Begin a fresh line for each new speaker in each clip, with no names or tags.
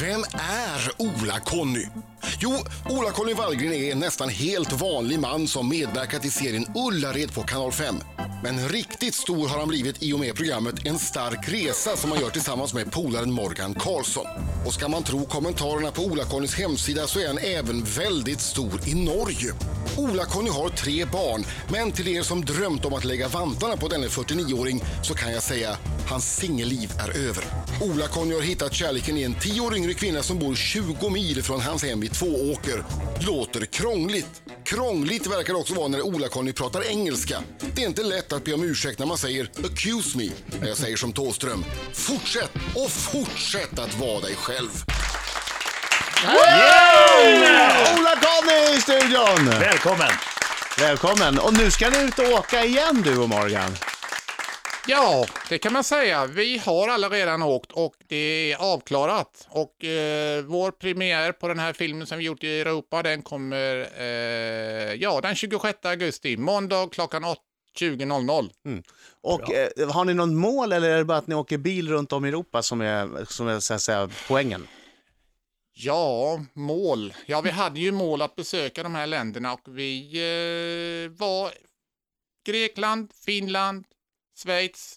Vem är Ola-Conny? Jo, Ola-Conny Wallgren är en nästan helt vanlig man som medverkat i serien Ullared på Kanal 5. Men riktigt stor har han blivit i och med programmet En stark resa som han gör tillsammans med polaren Morgan Karlsson. Och ska man tro kommentarerna på Ola-Connys hemsida så är han även väldigt stor i Norge. Ola-Conny har tre barn, men till er som drömt om att lägga vantarna på denne 49-åring så kan jag säga hans singelliv är över. Ola-Conny har hittat kärleken i en 10 år yngre kvinna som bor 20 mil från hans hem i Tvååker. Låter krångligt. Krångligt verkar det också vara när Ola-Conny pratar engelska. Det är inte lätt att be om ursäkt när man säger “accuse me” när jag säger som Tåström. Fortsätt och fortsätt att vara dig själv.
Ola Conny i studion!
Välkommen!
Välkommen! Och nu ska ni ut och åka igen du och Morgan.
Ja, det kan man säga. Vi har alla redan åkt och det är avklarat. Och eh, vår premiär på den här filmen som vi gjort i Europa, den kommer eh, ja, den 26 augusti, måndag klockan 8, 20.00.
Och eh, har ni något mål eller är det bara att ni åker bil runt om i Europa som är, som är så att säga, poängen?
Ja, mål. Ja, vi hade ju mål att besöka de här länderna och vi eh, var Grekland, Finland, Schweiz,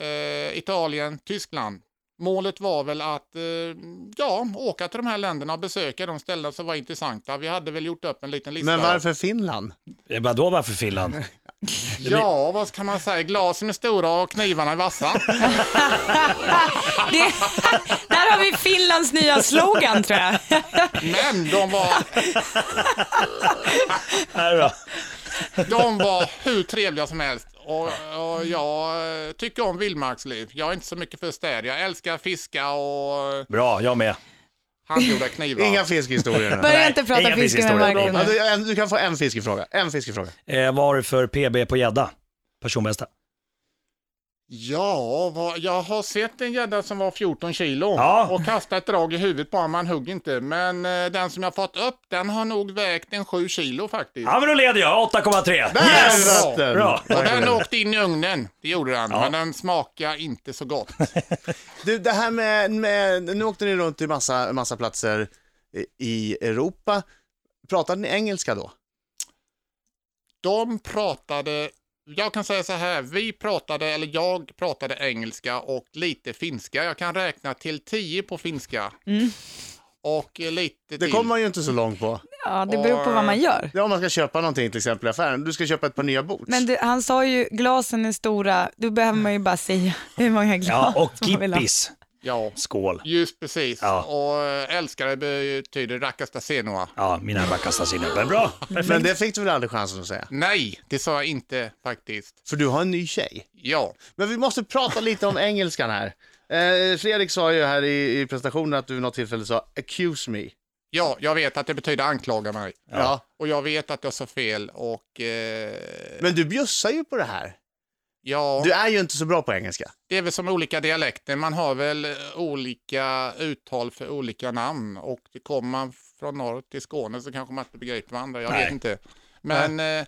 eh, Italien, Tyskland. Målet var väl att eh, ja, åka till de här länderna och besöka de ställen som var intressanta. Vi hade väl gjort upp en liten lista.
Men varför Finland?
Eh, Vadå varför Finland?
Ja, vad kan man säga? Glasen är stora och knivarna är vassa.
Det, där har vi Finlands nya slogan tror jag.
Men de var,
Här då.
De var hur trevliga som helst. Och, och jag eh, tycker om vildmarksliv. Jag är inte så mycket för städer. Jag älskar fiska och
Bra, jag med.
handgjorda knivar.
Inga fiskhistorier nu.
Börja inte prata
inga
fiske med
fiskhistorier.
Marco
Ja,
nu.
du, en- du kan få en fiskefråga. En fiskefråga.
Eh, vad har du för PB på gädda? Personbästa.
Ja, vad, jag har sett en gädda som var 14 kilo
Ja.
och kastat ett drag i huvudet på honom. Man hugg inte. Men eh, den som jag fått upp, den har nog vägt en 7 kilo faktiskt.
Ja men då leder jag, 8,3.
Yes!
Där satt den.
Bra.
Och den åkte in i ugnen, det gjorde den. Men den smakade inte så gott.
Du, det här med, med... Nu åkte ni runt i massa, massa platser i- i Europa. Pratade ni engelska då?
de pratade, jag kan säga så här, vi pratade, eller jag pratade engelska och lite finska. Jag kan räkna till tio på finska. Och eh, lite
Det
till.
kommer man ju inte så långt på.
Ja, det beror på vad man gör.
Ja, om man ska köpa någonting till exempel i affären. Du ska köpa ett par nya boots.
Men du, han sa ju glasen är stora, då behöver man ju bara säga hur många
Ja,
glas
och
man vill ha.
kippis.
Ja,
Skål.
just precis.
Ja.
Och eh, älskare betyder rackasta senoa.
Ja, mina rackarstass inne. Men bra. Perfekt.
Men det fick du väl aldrig chansen att säga?
Nej, det sa jag inte faktiskt.
För du har en ny tjej.
Ja,
Men vi måste prata lite om engelskan här. Eh, Fredrik sa ju här i, i presentationen att du vid något tillfälle sa accuse me.
ja, jag vet att det betyder anklaga mig.
Ja.
Och jag vet att jag sa fel och eh,
Men du bjussar ju på det här.
ja,
Du är ju inte så bra på engelska.
det är väl som olika dialekter. Man har väl eh, olika uttal för olika namn och det kommer man från norr till Skåne så kanske man inte begriper varandra. Jag
Nej.
vet inte. Men eh,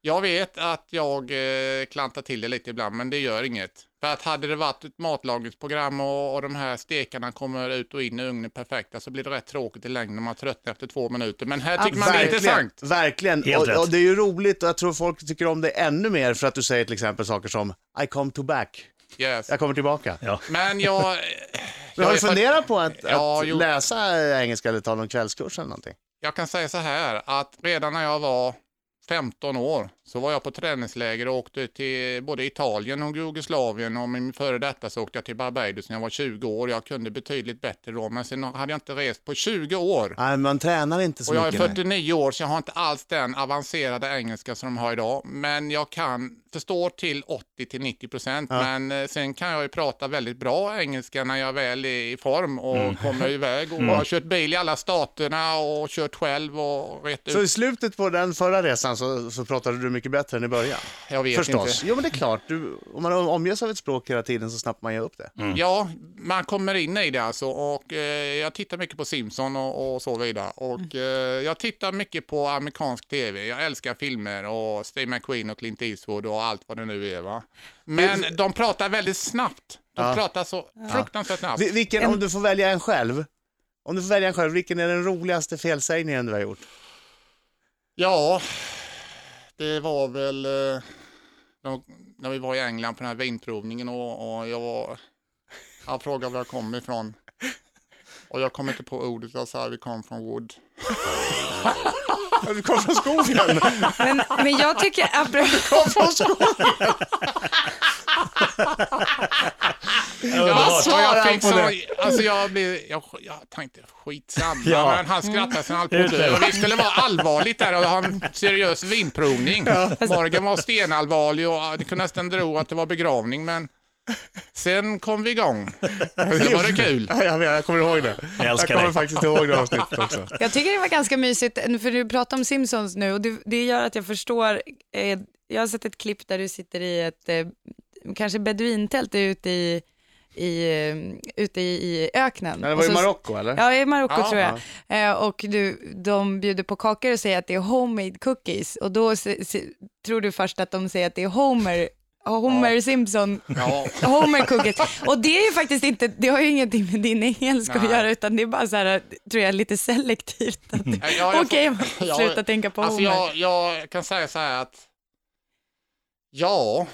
jag vet att jag eh, klantar till det lite ibland, men det gör inget. För att hade det varit ett matlagningsprogram och, och de här stekarna kommer ut och in i ugnen perfekta så blir det rätt tråkigt i längden när man tröttnar efter två minuter. Men här tycker man det är intressant.
Verkligen.
Helt rätt.
Och, och det är ju roligt och jag tror folk tycker om dig ännu mer för att du säger till exempel saker som I come to back.
Yes.
Jag kommer tillbaka.
Ja.
Men jag...
Men har
jag
du
är fakt-
funderat på att,
Ja,
att
jo.
läsa engelska eller ta någon kvällskurs eller någonting?
Jag kan säga så här att redan när jag var 15 år så var jag på träningsläger och åkte till både Italien och Jugoslavien och min före detta så åkte jag till Barbados när jag var 20 år. Jag kunde betydligt bättre då men sen hade jag inte rest på 20 år.
Nej, man tränar inte så
Och jag är
mycket. nej.
49 år så jag har inte alls den avancerade engelska som de har idag. Men jag kan förstå till 80 till 90 procent. Men eh, sen kan jag ju prata väldigt bra engelska när jag väl är i form och
Mm.
kommer iväg. Och jag har kört bil i alla staterna och kört själv och rätt
Så i
ut.
slutet på den förra resan så, så pratade du mycket bättre än i början?
Jag vet
Förstås.
inte.
Jo, men det är klart. Du, om man omges av ett språk hela tiden så snabbt man ger upp det.
Ja, man kommer in i det alltså. Och, eh, jag tittar mycket på Simpson och, och så vidare.
Mm.
Och, eh, jag tittar mycket på amerikansk tv. Jag älskar filmer och Steve McQueen och Clint Eastwood och allt vad det nu är. Va? Men de pratar väldigt snabbt. De
Ja.
pratar så fruktansvärt snabbt.
Vi- Vilken,
En-
om du får välja en själv, om du får välja en själv, vilken är den roligaste felsägningen du har gjort?
Ja, det var väl eh, när- när vi var i England på den här vinprovningen och, och jag var... Han frågade var jag kom ifrån. Och jag kom inte på ordet, jag sa vi kom från Wood.
Du kom från skogen!
Men, men jag tycker... apro-
Kom från skogen!
Vad svarar
jag
han
fick
på
så,
det?
Alltså jag, blev, jag, jag tänkte skitsamma,
Ja.
men han skrattade så han höll på
Mm.
att dö. Och Vi skulle vara allvarligt där och ha en seriös vinprovning. Morgan var stenallvarlig och det kunde nästan tro att det var begravning, men sen kom vi igång. Sen var det kul.
Ja, jag, vet, jag kommer ihåg det.
Jag älskar
kommer
dig.
faktiskt ihåg det avsnittet också.
Jag tycker det var ganska mysigt, för du pratar om Simpsons nu och det, det gör att jag förstår. Eh, jag har sett ett klipp där du sitter i ett, eh, kanske beduintält ute i, i, eh, ute i, i öknen.
Men det
Och
var i
så-
Marocko eller?
Ja, i Marocko
Ja.
tror jag. Eh, och du, de bjuder på kakor och säger att det är homemade cookies. Och då se, se, tror du först att de säger att det är Homer, Homer Simpson,
Ja.
Homer cookies. Och det är ju faktiskt inte, det har ju ingenting med din engelska
Nej.
att göra, utan det är bara så här, tror jag, lite selektivt. Att du,
Mm. Ja, jag får-
Okej, man får
Ja,
sluta tänka på
Alltså
Homer.
jag, jag kan säga så här att Ja,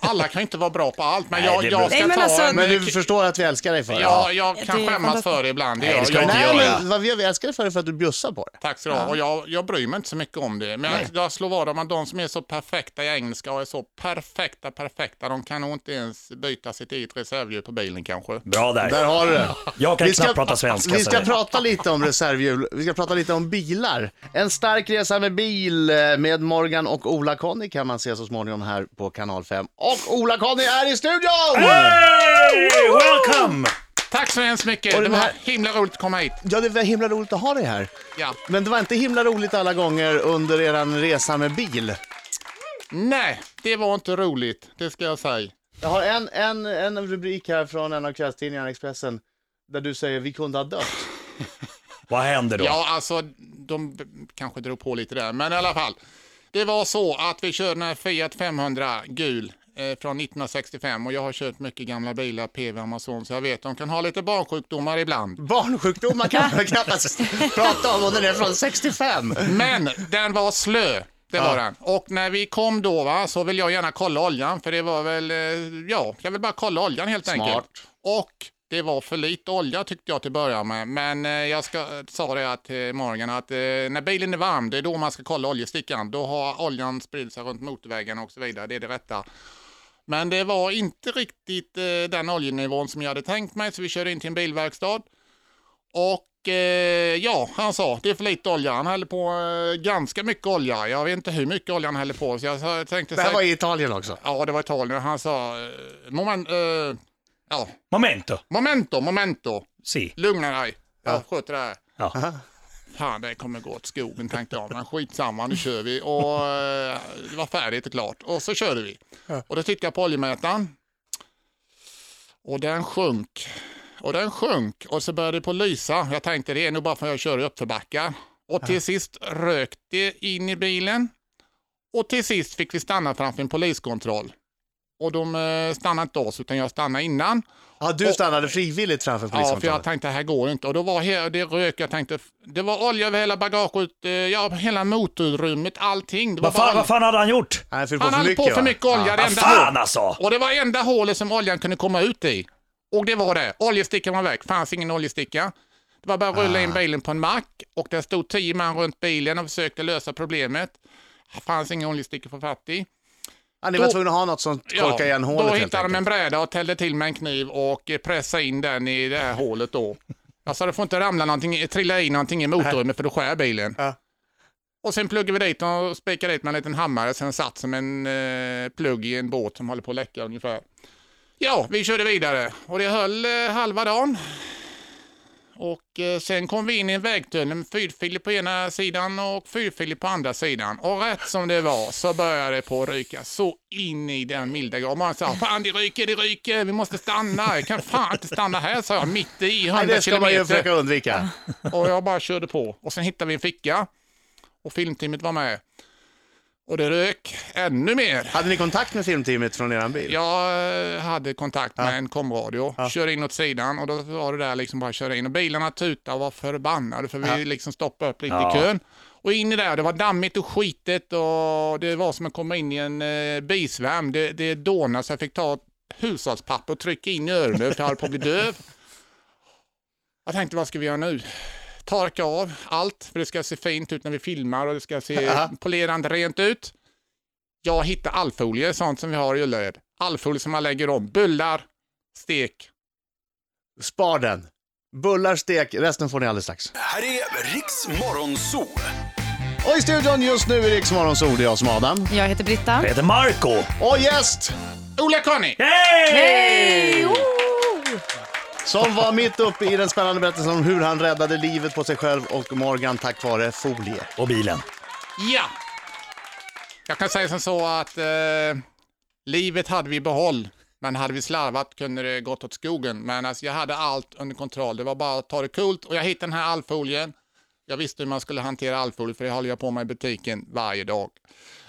alla kan ju inte vara bra på allt, men
Nej,
jag,
det
jag
beror-
ska
Nej, men
ta
alltså-
en...
Men du förstår att vi älskar dig för det?
Ja, jag
Det
kan
är
skämmas
fantastiskt.
för det ibland.
Nej, det
gör
ska
jag.
inte
Nej,
jag
men vad vi, vi älskar dig för, det för att du bjussar på det.
Tack så du ha. Och jag, jag bryr mig inte så mycket om det. Men jag, jag slår vad om att de som är så perfekta i engelska och är så perfekta, perfekta, de kan nog inte ens byta sitt eget reservhjul på bilen kanske.
Bra där.
Där har du det.
Jag kan knappt prata svenska.
Vi
så
ska
det-
prata lite om reservhjul. Vi ska prata lite om bilar. En stark resa med bil eh, med Morgan och Ola-Conny kan man se så småningom här på Kanal 5. Och Ola-Conny är i studion!
Hey! Welcome!
Tack så hemskt mycket.
Och
det
den
var
här-
himla roligt att komma hit.
Ja, det var himla roligt att ha dig här.
Ja.
Men det var inte himla roligt alla gånger under er resa med bil.
Nej, det var inte roligt. Det ska jag säga.
Jag har en, en, en rubrik här från en av kvällstidningarna, Expressen, där du säger vi kunde ha dött.
Vad händer då?
Ja, alltså de b- kanske drog på lite där, men i alla fall. Det var så att vi körde den här Fiat 500 gul eh, från 1965 och jag har kört mycket gamla bilar, PV Amazon, så jag vet de kan ha lite barnsjukdomar ibland.
Barnsjukdomar kan man knappast prata om och den är från 65.
Men den var slö. Det var den. Och när vi kom då va, så vill jag gärna kolla oljan för det var väl, eh, ja, jag vill bara kolla oljan helt
Smart.
enkelt. Och det var för lite olja tyckte jag till att börja med. Men eh, jag ska, sa det här till Morgan att eh, när bilen är varm, det är då man ska kolla oljestickan. Då har oljan spridit sig runt motorvägen och så vidare. Det är det rätta. Men det var inte riktigt eh, den oljenivån som jag hade tänkt mig så vi körde in till en bilverkstad. Och eh, ja, han sa det är för lite olja. Han häller på eh, ganska mycket olja. Jag vet inte hur mycket olja han häller på. Så jag sa- tänkte
Det här
säkert-
var i Italien också.
Ja, det var Italien. Han sa eh, moment, eh, ja,
Momento.
momento, momento.
Si.
Lugna dig. Jag sköter det här.
Ja.
Fan, det kommer gå åt skogen tänkte jag, men skitsamma, nu kör vi. Och eh, det var färdigt och klart. Och så körde vi. Och då tittade jag på oljemätaren. Och den sjönk. Och den sjönk. Och så började det på lysa. Jag tänkte det är nog bara för att jag kör i uppförbackar. Och till sist rök det in i bilen. Och till sist fick vi stanna framför en poliskontroll. Och de eh, stannade inte oss, utan jag stannade innan.
Ja, du stannade frivilligt framför
Ja, för jag
poliskontoret.
tänkte det här går inte. Och då var här, det rök, jag tänkte, det var olja över hela bagaget, eh, ja, hela motorrummet, allting. Det var
Vad fan,
bara-
vad fan hade han gjort?
Han fyllde
Han hade på för
va?
mycket olja.
Ja.
det
Ah, Vad
enda
fan
hål-
alltså!
Och det var enda hålet som oljan kunde komma ut i. Och det var det. Oljestickan var väck, fanns ingen oljesticka. Det var bara att
Ah.
rulla in bilen på en mack och där stod tio man runt bilen och försökte lösa problemet. Fanns ingen oljesticka för fattig.
Ja, ni var
Då-
tvungna att ha något som
Ja,
torkade igen hålet
Då
helt
hittade de en
enkelt.
bräda och tällde till med en kniv och eh, pressade in den i det här hålet då. Jag sa det får inte ramla någonting, trilla in någonting i motorrummet för då skär bilen.
Ja.
Och sen pluggade vi dit och spikade dit med en liten hammare sen satt som en eh, plugg i en båt som håller på att läcka ungefär. Ja, vi körde vidare och det höll eh, halva dagen. Och eh, sen kom vi in i en vägtunnel med fyrfilig på ena sidan och fyrfilig på andra sidan. Och rätt som det var så började det på att ryka så in i den milda grad. Man sa fan det ryker, det ryker, vi måste stanna. Jag kan fan inte stanna här sa jag mitt i 100
Nej, det ska man ju
kilometer.
försöka undvika.
Och jag bara körde på. Och sen hittade vi en ficka. Och filmteamet var med. Och det rök ännu mer.
Hade ni kontakt med filmteamet från eran bil?
Jag eh, hade kontakt med en komradio, kör in åt sidan och då var det där liksom bara köra in. Och bilarna tutade och var förbannade för vi liksom stoppade upp lite
Ja.
i kön. Och in i det, här, det var dammigt och skitigt och det var som att komma in i en eh, bisvärm. Det, det dånade så jag fick ta hushållspapper och trycka in i öronen för jag höll på att bli döv. Jag tänkte, vad ska vi göra nu? Torka av allt, för det ska se fint ut när vi filmar och det ska se polerande rent ut. Jag hittar allfolie, sånt som vi har i Ullared. Allfolie som man lägger om. Bullar, stek.
Spar den. Bullar, stek, resten får ni alldeles strax.
Här är Riks Morgonzoo.
Och i studion just nu i Rix Morgonzoo, det är jag som är Adam.
Jag heter Britta.
Jag heter Marco.
Och gäst
Ola Conny!
Hej! Oh!
som var mitt uppe i den spännande berättelsen om hur han räddade livet på sig själv och Morgan tack vare folie.
Och bilen.
Ja! Jag kan säga som så att eh, livet hade vi i behåll. Men hade vi slarvat kunde det gått åt skogen. Men alltså, jag hade allt under kontroll. Det var bara att ta det coolt. Och jag hittade den här allfolien. Jag visste hur man skulle hantera allfolie för det håller jag på med i butiken varje dag.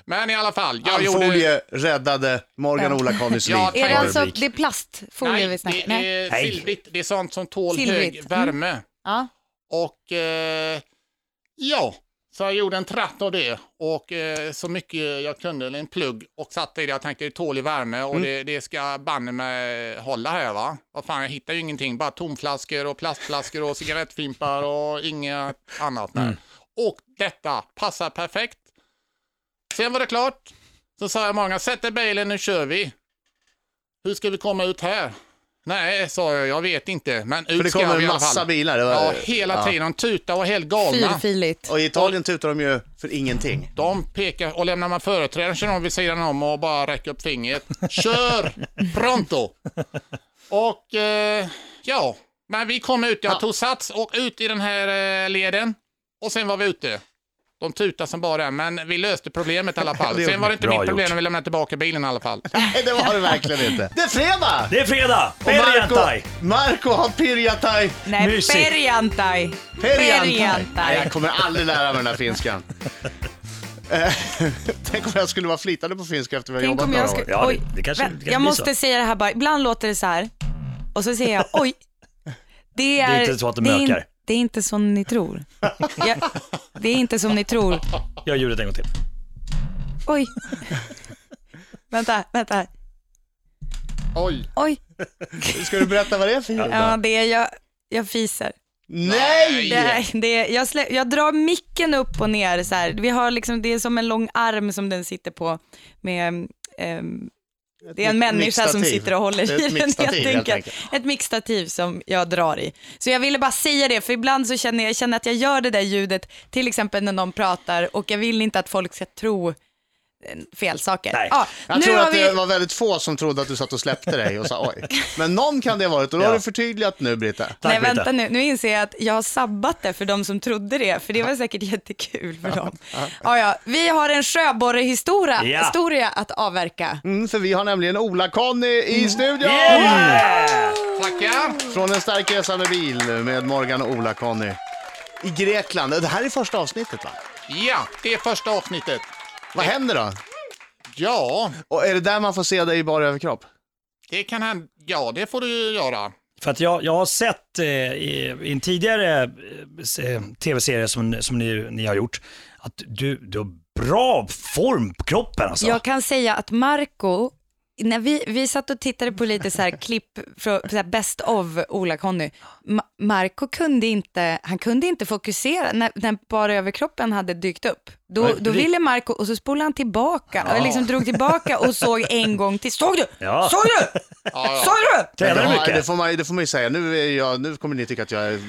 Men i alla fall. Jag gjorde...
Alfolie räddade Morgan och Ola-Connys liv.
Ja,
Är
tack.
det alltså,
Rubrik.
det är plastfolie vi
Nej,
snackar
det
Nej.
är
Nej.
silvrigt. Det är sånt som tål hög
Silvrigt. Mm.
värme.
Ja.
Och eh, ja, så jag gjorde en tratt av det och eh, så mycket jag kunde, eller en plugg och satte i det. Jag tänkte det tål i värme
Mm.
och det, det ska banne mig hålla här va. Vad fan, jag hittar ju ingenting, bara tomflaskor och plastflaskor och cigarettfimpar och inget annat. där.
Mm.
Och detta passar perfekt. Sen var det klart. Så sa jag många, sätt dig i bilen, nu kör vi. Hur ska vi komma ut här? Nej, sa jag, jag vet inte. Men ut
För det
ska vi
kommer en
i alla fall.
massa bilar. Det var-
Ja, hela
Eh, Ja.
tiden. De tutar och var helt galna.
Fyrfiligt.
Och i Italien tutar de ju för ingenting.
De pekar och lämnar man företrädaren kör de vid sidan om och bara räcker upp fingret. Kör! Pronto! Och eh, ja, men vi kom ut. Jag tog sats och ut i den här eh, leden och sen var vi ute. De tutade som bara är, men vi löste problemet i alla fall.
Det är
Sen var det inte
bra
mitt problem
gjort.
när vi lämnade tillbaka bilen i alla fall.
Nej, det var det verkligen inte. Det är fredag!
Det är fredag!
Och
Bergentaj!
Marco har pirjataj.
Nej,
Mysigt.
perjantai.
Perjantaj. Nej, jag kommer aldrig lära mig den här finskan. Eh, Tänk om jag skulle vara flytande på finska efter vi har
Tänk
jobbat
om
några
jag
år.
skulle...
Ja, det-
oj,
det kanske- det
vänta,
kan
jag
bli
måste säga det här bara. Ibland låter det så här och så säger jag oj. Det är,
inte så att det
är in-
mökar.
det är inte som ni tror. Jag, det är inte som ni tror.
Gör ljudet en gång till.
Oj. Vänta, vänta.
Oj,
Oj.
Ska du berätta vad det är för ljud?
Ja, det är jag, jag fiser.
Nej!
Det här, det är, jag, slä, jag drar micken upp och ner så här. Vi har liksom, det är som en lång arm som den sitter på med ehm, det är en
mick-
människa som
mickstativ.
sitter och håller
Det är ett
i den
mickstativ,
helt
helt
enkelt.
enkelt.
Ett mixtativ som jag drar i. Så jag ville bara säga det, för ibland så känner jag, jag känner att jag gör det där ljudet, till exempel när någon pratar, och jag vill inte att folk ska tro eh, fel saker.
Nej.
Ja,
Jag
nu
tror
har
att
vi-
det var väldigt få som trodde att du satt och släppte dig och sa oj. Men någon kan det ha varit och då har
Ja.
du förtydligat nu Britta.
Tack
Nej,
Britta.
vänta nu. Nu inser jag att jag har sabbat det för de som trodde det, för det var säkert jättekul för dem. Ja, ja. Vi har en sjöborrehistoria
Ja.
historia att avverka.
Mm, för vi har nämligen Ola-Conny
Mm.
i studion!
Yeah!
tackar!
Från en stark resa med bil med Morgan och Ola-Conny. I Grekland. Det här är första avsnittet va?
Ja, det är första avsnittet.
Vad händer då?
Ja,
Och är det där man får se dig i bara överkropp?
det kan hända. Ja, det får du ju göra.
För att jag, jag har sett eh, i, i en tidigare eh, se- tv-serie som, som ni, ni har gjort, att du, du har bra form på kroppen alltså.
Jag kan säga att Marco, när vi, vi satt och tittade på lite så här klipp från så här Best of Ola-Conny. Ma- Marco kunde inte, han kunde inte fokusera när, när bara överkroppen hade dykt upp. Då, då ville Marco och så spolade han tillbaka, och liksom drog tillbaka och såg en gång till. Såg du?
Ja.
Såg du? Såg du?
Tränar du
Ja,
mycket?
det, får man, det får man ju säga. Nu, är jag, nu kommer ni tycka att jag är...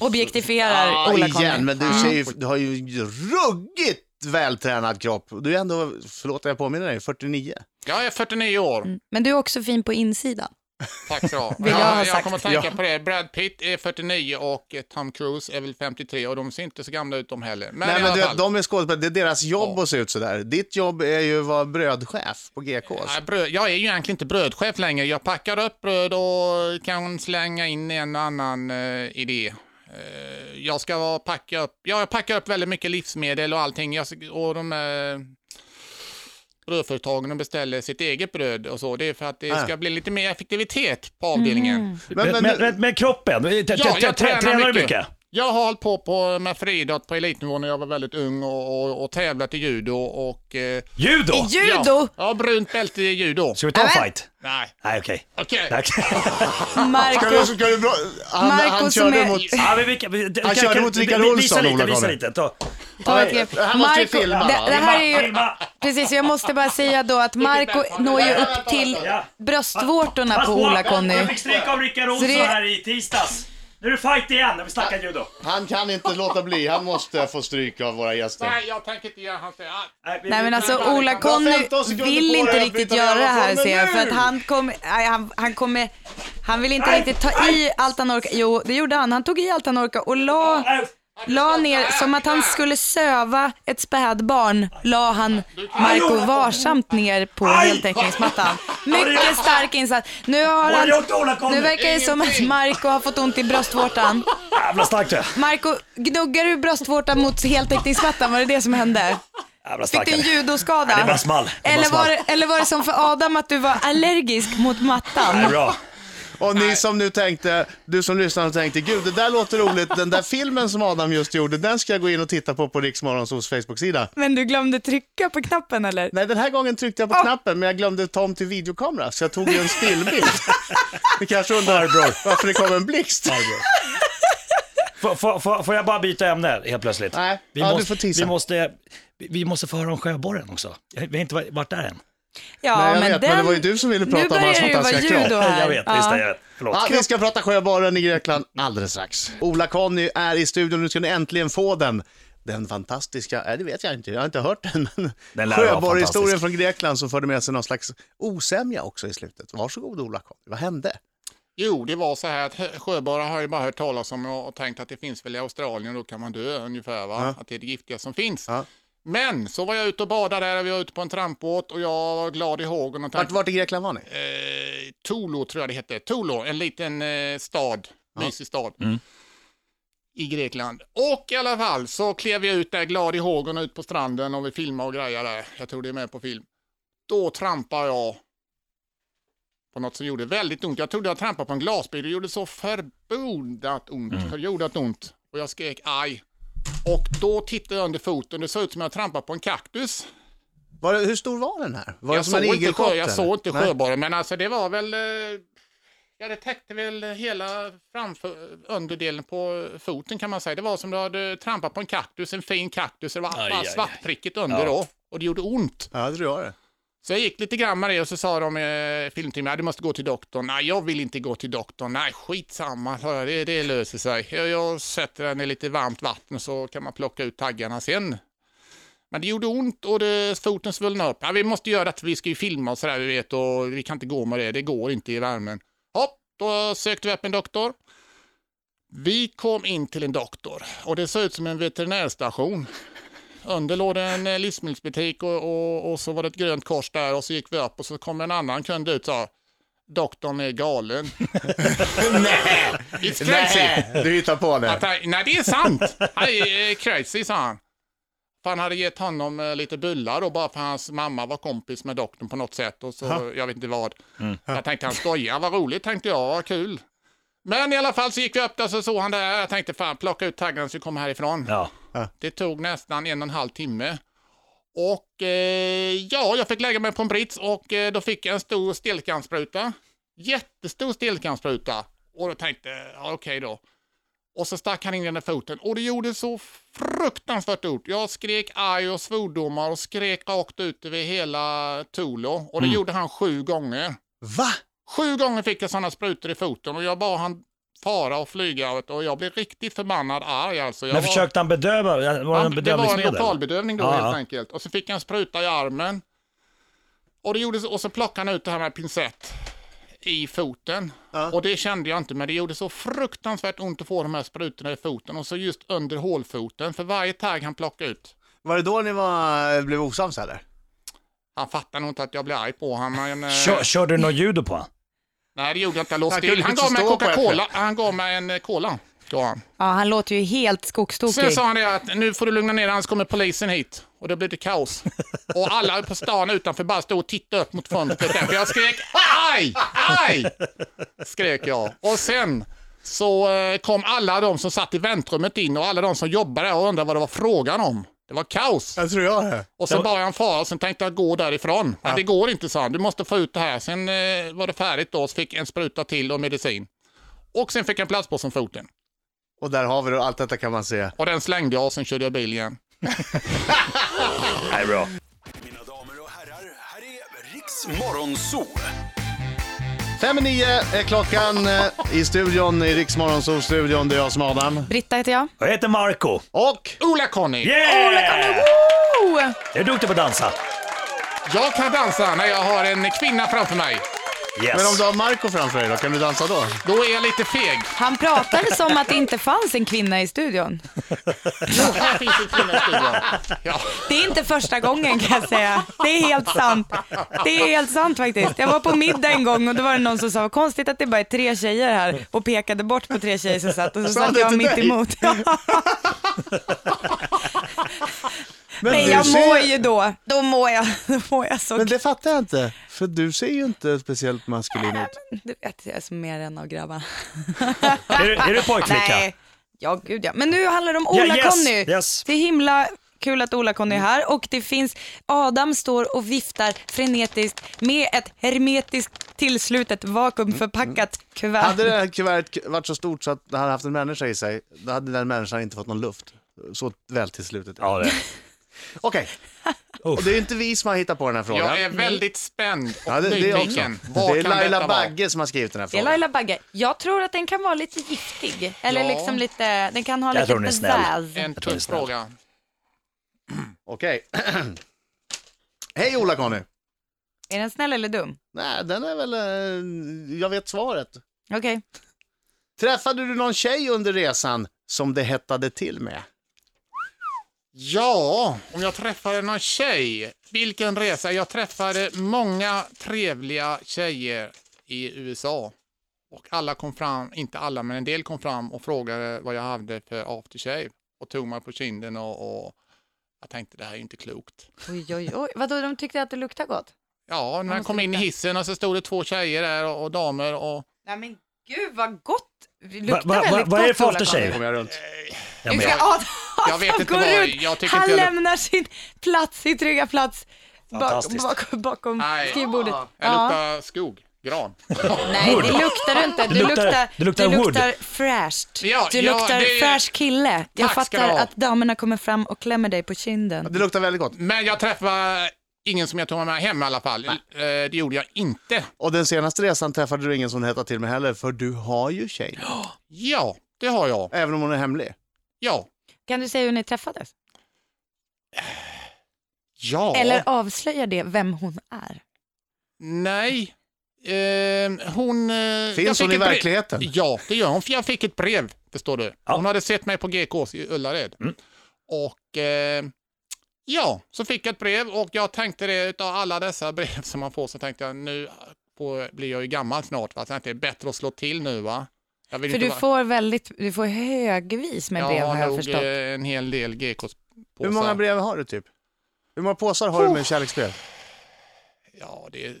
Objektifierar
Ja,
Ola
igen,
Conny.
men du, ser ju, du har ju ruggigt vältränad kropp. Du är ändå, förlåt att jag påminner dig, 49.
Jag är 49 år.
Men du är också fin på insidan.
Tack så du ha.
jag ha
Jag, jag
sagt.
kommer att tänka
Ja.
på det. Brad Pitt är 49 och eh, Tom Cruise är väl 53 och de ser inte så gamla ut de heller. Men,
Nej
i
men
alla
du, vet,
fall.
de är skådespelare, det är deras jobb att se ut sådär. Ditt jobb är ju att vara brödchef på GKs.
Nej, bröd, jag är ju egentligen inte brödchef längre. Jag packar upp bröd och kan slänga in en och annan eh, idé. Eh, jag ska vara- packa upp, ja, jag packar upp väldigt mycket livsmedel och allting. Jag, ska- och de, eh, brödföretagen och beställer sitt eget bröd och så. Det är för att det
Ah.
ska bli lite mer effektivitet på avdelningen.
Mm.
Men-
Men,
men-
men, men, kroppen, t- t-
jag
t-
tränar
tränar du
mycket.
mycket?
Jag har hållit på, på med friidrott på elitnivå när jag var väldigt ung och, och, och tävlat i judo och... Eh,
Judo!
I judo!
Ja, ja, brunt bälte i judo.
Ska vi ta en
Nämen.
fight?
Nej,
Nej, okej.
okej.
Tack.
Ah, Ska du,
Marco,
ska du, bra- han, han
Marco som
körde
är-
mot...
Ja, men vi kan- vi- kan-
körde
kan-
mot
vi-
Rickard
vi-
Olsson,
Visa lite,
Ola
visa
Conny.
lite. Ta.
ta ett grepp.
Det här måste vi filma, va?
det, det här är ju,
Filma!
precis, jag måste bara säga då att Marco når ju upp till bröstvårtorna på Ola-Conny.
Jag fick stryk av Rickard Olsson
det-
här i tisdags. Nu är det fight igen när vi snackar judo.
Han kan inte låta bli, han måste få stryk av våra gäster.
Nej, jag tänker inte göra hans... Ah,
vi-
Nej
vi-
men alltså
Du har
Ola-Conny
15 sekunder
vill
på
inte
dig att
riktigt
byta
göra det här
mikrofon,
ser jag,
men
för att
nu!
han kommer, nej, han, han kommer, han vill inte riktigt ta i allt han orkar. Jo, det gjorde han. Han tog i allt han orkade och la,
Nej,
la ner, som att han skulle söva ett spädbarn, la han Marco varsamt ner på heltäckningsmattan. Mycket stark insats. Nu har
Vad har du
han,
gjort Ola-Conny?
nu verkar det som att Marco har fått ont i bröstvårtan.
Jävla starkt du är.
Marco, gnuggar du bröstvårtan mot heltäckningsmattan? Var det det som hände?
Jävla
Fick
stark
du en
han är.
judoskada?
Nej, det bara small. Det bara
Eller var,
small.
det- eller var det som för Adam att du var allergisk mot
Nej,
mattan?
Bra.
Och ni som nu tänkte, du som lyssnar och tänkte, gud det där låter roligt, den där filmen som Adam just gjorde, den ska jag gå in och titta på på Riksmorgonsols Facebook-sida.
Men du glömde trycka på knappen eller?
Nej, den här gången tryckte jag på knappen, men jag glömde ta om till videokamera, så jag tog ju en stillbild. Ni kanske undrar varför det kom en blixt?
Får, får, får, får jag bara byta ämne helt plötsligt?
Nej, ja, du
måste,
får tisa.
Vi måste, vi- vi måste få höra om sjöborren också. Jag- Vi har inte varit där än.
Ja,
Nej, jag vet, men det var ju du som ville prata om
nu börjar
hans
det ju vara
fantastiska kropp.
judo här.
Jag vet, visst är jag. Förlåt.
Ja, vi ska prata sjöbaren i Grekland alldeles strax. Ola-Conny är i studion, nu ska ni äntligen få den. Den fantastiska, nej det vet jag inte, jag har inte hört den,
Den
men
lär vara
sjöborgarhistorien
fantastisk.
från Grekland som förde med sig någon slags osämja också i slutet. Varsågod Ola-Conny, vad hände?
Jo, det var så här att hö- sjöborrar har ju bara hört talas om och och tänkt att det finns väl i Australien och då kan man dö ungefär, va? att det är det giftiga som finns.
Ja.
Men så var jag ute och badade där, vi var ute på en trampbåt och jag var glad i hågen och
Vart,
tänkte...
vart i Grekland var ni?
Eh, Tolo tror jag det hette, Tolo, en liten eh, stad, mysig stad. I Grekland. Och i alla fall så klev jag ut där glad i hågen och ut på stranden och vi filmade och grejade där. Jag tror det är med på film. Då trampade jag på något som gjorde väldigt ont. Jag trodde jag trampade på en glasbil. Det gjorde så förbondat ont. Förbondat ont. Och jag skrek aj. Och då tittade jag under foten. Det såg ut som jag trampade på en kaktus.
Var det, hur stor var den här? Var det
Jag
som en
såg, inte
igelkott?
sjö, jag
eller?
såg inte
Nej.
sjöborren, men alltså det var väl... eh, Ja, det täckte väl hela framför, underdelen på foten kan man säga. Det var som du hade trampat på en kaktus, en fin kaktus. Det var
Aj,
bara
aj, aj.
svartprickigt under
Ja.
då och det gjorde ont.
Ja, det tror jag det.
Så jag gick lite grann med det och så sa de eh, filmteamet, "Ja, du måste gå till doktorn. Nej, jag vill inte gå till doktorn. Nej, skitsamma, sa jag. det, det löser sig. Jag, jag sätter den i lite varmt vatten så kan man plocka ut taggarna sen. Men det gjorde ont och det, foten svullnade upp. Ja, vi måste göra det, vi ska ju filma och sådär, vi vet, och vi kan inte gå med det, det går inte i värmen. Hopp, då sökte vi upp en doktor. Vi kom in till en doktor och det såg ut som en veterinärstation. Under låg det en eh, livsmedelsbutik och, och, och så var det ett grönt kors där och så gick vi upp och så kom en annan kund ut och sa doktorn är galen. Nej, it's crazy.
Nej, du hittar på det.
Att han, nej, det är sant. Han är eh, crazy, sa han. För han hade gett honom eh, lite bullar då, bara för hans mamma var kompis med doktorn på något sätt. Och så, Jag vet inte vad. Jag tänkte han skojar, vad roligt tänkte jag, vad kul. Men i alla fall så gick vi upp där så såg han det här. Jag tänkte fan plocka ut taggarna så vi kommer härifrån.
Ja.
Det tog nästan en och en halv timme. Och eh, ja, jag fick lägga mig på en brits och eh, då fick jag en stor stelkrampsspruta. Jättestor stelkrampsspruta. Och då tänkte jag, ja, okej då. Och så stack han in den där foten och det gjorde så fruktansvärt ont. Jag skrek aj och svordomar och skrek rakt ut över hela Tulo. Och det gjorde han sju gånger.
Va?
Sju gånger fick jag sådana sprutor i foten och jag bad han fara och flyga vet du. och jag blev riktigt förbannad arg alltså. Jag
Men
var-
försökte han bedöva? Var det en
det var en
bedövningsmedel?
lokalbedövning då
Ja,
helt
ja.
enkelt. Och så fick han spruta i armen. Och, det gjorde, och så plockade han ut det här med pincett i foten. Och det kände jag inte, men det gjorde så fruktansvärt ont att få de här sprutorna i foten. Och så just under hålfoten, för varje tagg han plockade ut.
Var det då ni var, blev osams eller?
Han fattade nog inte att jag blev arg på honom. Men, eh,
Kör, kör du något judo på honom?
nej, det gjorde jag inte. Jag låg
Han
still.
kunde
Han
inte
gav mig en
stå på
Coca-Cola. Han gav mig en eh, cola. gav han.
Ja, han låter ju helt skogstokig.
Sen sa han det att nu får du lugna ner dig, annars kommer polisen hit. Och då blev det kaos. Och alla på stan utanför bara stod och tittade upp mot fönstret. där, För jag skrek aj, aj, skrek jag. Och sen så eh, kom alla de som satt i väntrummet in och alla de som jobbade där och undrade vad det var frågan om. Det var kaos.
Jag tror jag det.
Och sen bad jag en fara och sen tänkte jag gå därifrån. Men det går inte, sa han. Du måste få ut det här. Sen eh, var det färdigt då, så fick en spruta till och medicin. Och sen fick jag en plastpåse om foten.
Och där har vi det, allt detta kan man se.
Och den slängde jag och sen körde jag bil igen.
Nej, bra.
Mina damer och herrar, här är Riks Morgonzoo.
Fem i nio är klockan eh, i studion, i Riksmorgonsolstudion. Det är jag som är Adam.
Britta heter jag.
Jag heter Marco.
Och
Ola-Conny!
Yeah!
Oh!
Jag är duktig på att dansa.
Jag kan dansa när jag har en kvinna framför mig.
Yes.
Men om du har Marco framför dig då, kan du dansa då?
Då är jag lite feg.
Han pratade som att det inte fanns en kvinna i studion.
Jo, här finns en kvinna i studion. Ja.
Det är inte första gången kan jag säga. Det är helt sant. Det är helt sant faktiskt. Jag var på middag en gång och då var det någon som sa, "Vad konstigt att det bara är tre tjejer här och pekade bort på tre tjejer som satt och så
Sa
satt
det
jag
till
mitt
dig?
emot. Men
du
jag
ser-
mår ju då, då mår jag, då mår jag så
Men det fattar jag inte, för du ser ju inte speciellt maskulin ut.
Du vet, jag är som mer en av grabbarna.
Är du- är du pojkflicka?
Nej. Ja, gud ja. Men nu handlar det om
Ja, yes,
Ola-Conny.
yes.
Det är himla kul att Ola-Conny är här och det finns, Adam står och viftar frenetiskt med ett hermetiskt tillslutet
Mm,
vakuumförpackat kuvert.
Hade det här kuvertet varit så stort så att det hade haft en människa i sig, då hade den människan inte fått någon luft. Så väl till slutet.
Ja, det.
Okej, och det är ju inte vi som har hittat på den här frågan.
Jag är väldigt spänd och
Ja, det, det, är också.
nyfiken. Vad
det är
kan
Laila
detta vara?
Bagge som har skrivit den här
Det är
frågan.
Laila Bagge. Jag tror att den kan vara lite giftig. Eller
Ja.
liksom lite, den kan ha
Jag
lite
tror den är snäll.
pizzazz.
En tuff fråga.
Okej. Hej Ola-Conny.
Är den snäll eller dum?
Nej, den är väl... eh, Jag vet svaret.
Okej.
Träffade du någon tjej under resan som det hettade till med?
Ja, om jag träffade någon tjej. Vilken resa. Jag träffade många trevliga tjejer i USA. Och alla kom fram, inte alla, men en del kom fram och frågade vad jag hade för aftershave. Och tog mig på kinden och, och jag tänkte det här är ju inte klokt.
Oj, oj, oj. Vadå, de tyckte att det luktade gott?
Ja, när jag
måste
kom in i
lukta.
hissen och så stod det två tjejer där och, och damer och
Nej men gud vad gott. Det
Va-
luktar
va- va-
väldigt
vad är det
gott,
för
Ola-Conny.
aftershave?
Kommer jag runt?
Jag med.
Adam,
Jag vet
han
inte
går
vad-
ut.
jag tycker
han
inte jag-
lämnar sin plats, sin trygga plats bak,
Fantastiskt.
bak, bakom
Nej.
skrivbordet.
jag luktar skog, gran.
Nej, det luktar du inte. Du
Det luktar-
luktar,
det luktar
du
wood.
luktar fräscht.
Ja,
du
ja,
luktar
det är-
fräsch kille. Jag
Tack ska du
fattar
ha.
att damerna kommer fram och klämmer dig på kinden.
Det luktar väldigt gott.
Men jag träffade ingen som jag tog med mig hem i alla fall. Eh, Det gjorde jag inte.
Och den senaste resan träffade du ingen som det hettade till med heller, för du har ju tjej.
Ja, det har jag.
Även om hon är hemlig.
Ja.
Kan du säga hur ni träffades?
Ja.
Eller avslöjar det vem hon är?
Nej. Eh, hon... eh,
Finns
jag fick
hon i
ett brev-
verkligheten?
Ja, det gör hon. För jag fick ett brev, förstår du. Hon hade sett mig på GKs i Ullared.
Mm.
Och eh, ja, så fick jag ett brev och jag tänkte det utav alla dessa brev som man får så tänkte jag nu får, blir jag ju gammal snart. Va? Så jag tänkte, det är bättre att slå till nu va. Jag vill
För
inte
du
vara-
får väldigt, du får högvis med brev har jag
nog,
förstått.
eh, en hel del GKs påsar.
Hur många brev har du typ? Hur många påsar har du med kärleksbrev?
Ja, det är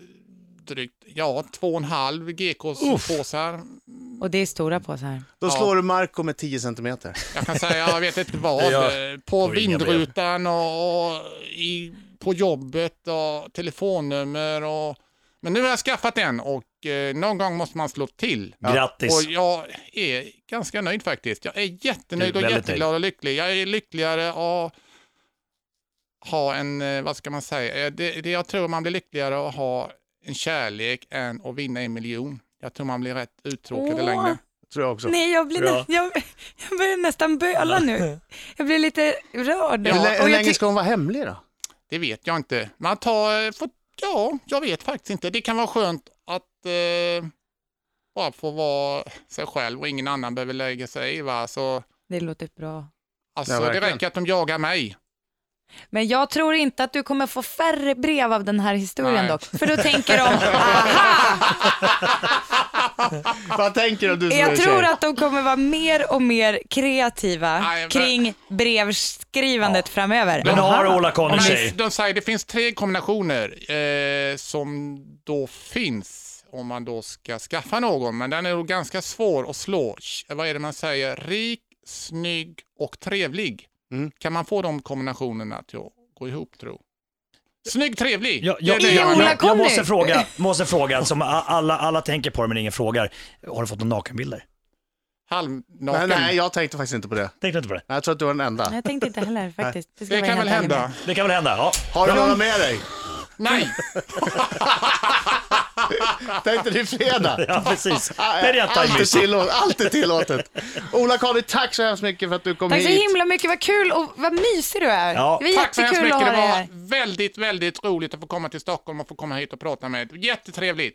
drygt, ja, två och en halv GKs påsar. eh,
Och det är stora påsar.
Då slår du Marco med 10 centimeter.
Jag kan säga, jag vet inte vad.
Jag
eh, på
får inga brev.
vindrutan och, och i, på jobbet och telefonnummer och... Men nu har jag skaffat en och eh, någon gång måste man slå till.
Grattis.
Och jag är ganska nöjd faktiskt. Jag är jättenöjd
Du är
och
väldigt
jätteglad och lycklig. Jag är lyckligare att ha en, eh, vad ska man säga, Eh, det, det jag tror man blir lyckligare att ha en kärlek än att vinna en miljon. Jag tror man blir rätt uttråkad i
Åh.
längden.
Tror jag också.
Nej, jag, blir
Bra.
nä- jag, jag börjar nästan böla nu. Jag blir lite rörd.
Hur, lä-
Och
hur
jag
länge
ty-
ska hon vara hemlig då?
Det vet jag inte. Man tar, eh, får, ja, jag vet faktiskt inte. Det kan vara skönt att eh, bara få vara sig själv och ingen annan behöver lägga sig i. Va? Så,
Det låter bra.
alltså,
Ja,
det
verkligen.
räcker att de jagar mig.
Men jag tror inte att du kommer få färre brev av den här historien
Nej.
dock. För då tänker de, aha,
Ah.
Vad tänker du om du som är
Jag tror
tjej?
att de kommer vara mer och mer kreativa
Nej, men-
kring brevskrivandet framöver.
Men har Ola
Om
Conny
ni-
tjej?
De säger det finns tre kombinationer eh, som då finns om man då ska skaffa någon, men den är nog ganska svår att slå. Sh- Vad är det man säger? Rik, snygg och trevlig.
Mm.
Kan man få de kombinationerna till att gå ihop tro? Snygg, trevlig!
Jag,
Det är
jag,
det
I
jag-
Ola
jag, jag måste
Conny.
fråga, måste fråga som a- alla, alla tänker på det men ingen frågar. Har du fått några nakenbilder?
Nej,
Halvnaken.
nej, jag tänkte faktiskt inte på det.
Tänkte inte på det?
Nej, Jag tror att du var den enda.
Nej, Jag tänkte inte heller faktiskt. ska
det
vara
kan väl
helt ärlig med.
hända?
Det kan väl hända? Ja.
Har du några med dig?
Nej!
Tänkte du fredag?
Ja, precis. Det
Ah,
är rätt
Allt är,
tajming.
tillåt, allt är tillåtet. Ola Karin, tack så hemskt mycket för att du kom
Tack så
hit.
himla mycket, vad kul och vad mysig du är.
Ja,
det var
Tack så hemskt
jättekul
mycket.
att
Det
ha dig
var
här.
väldigt, väldigt roligt att få komma till Stockholm och få komma hit och prata med er. Jättetrevligt.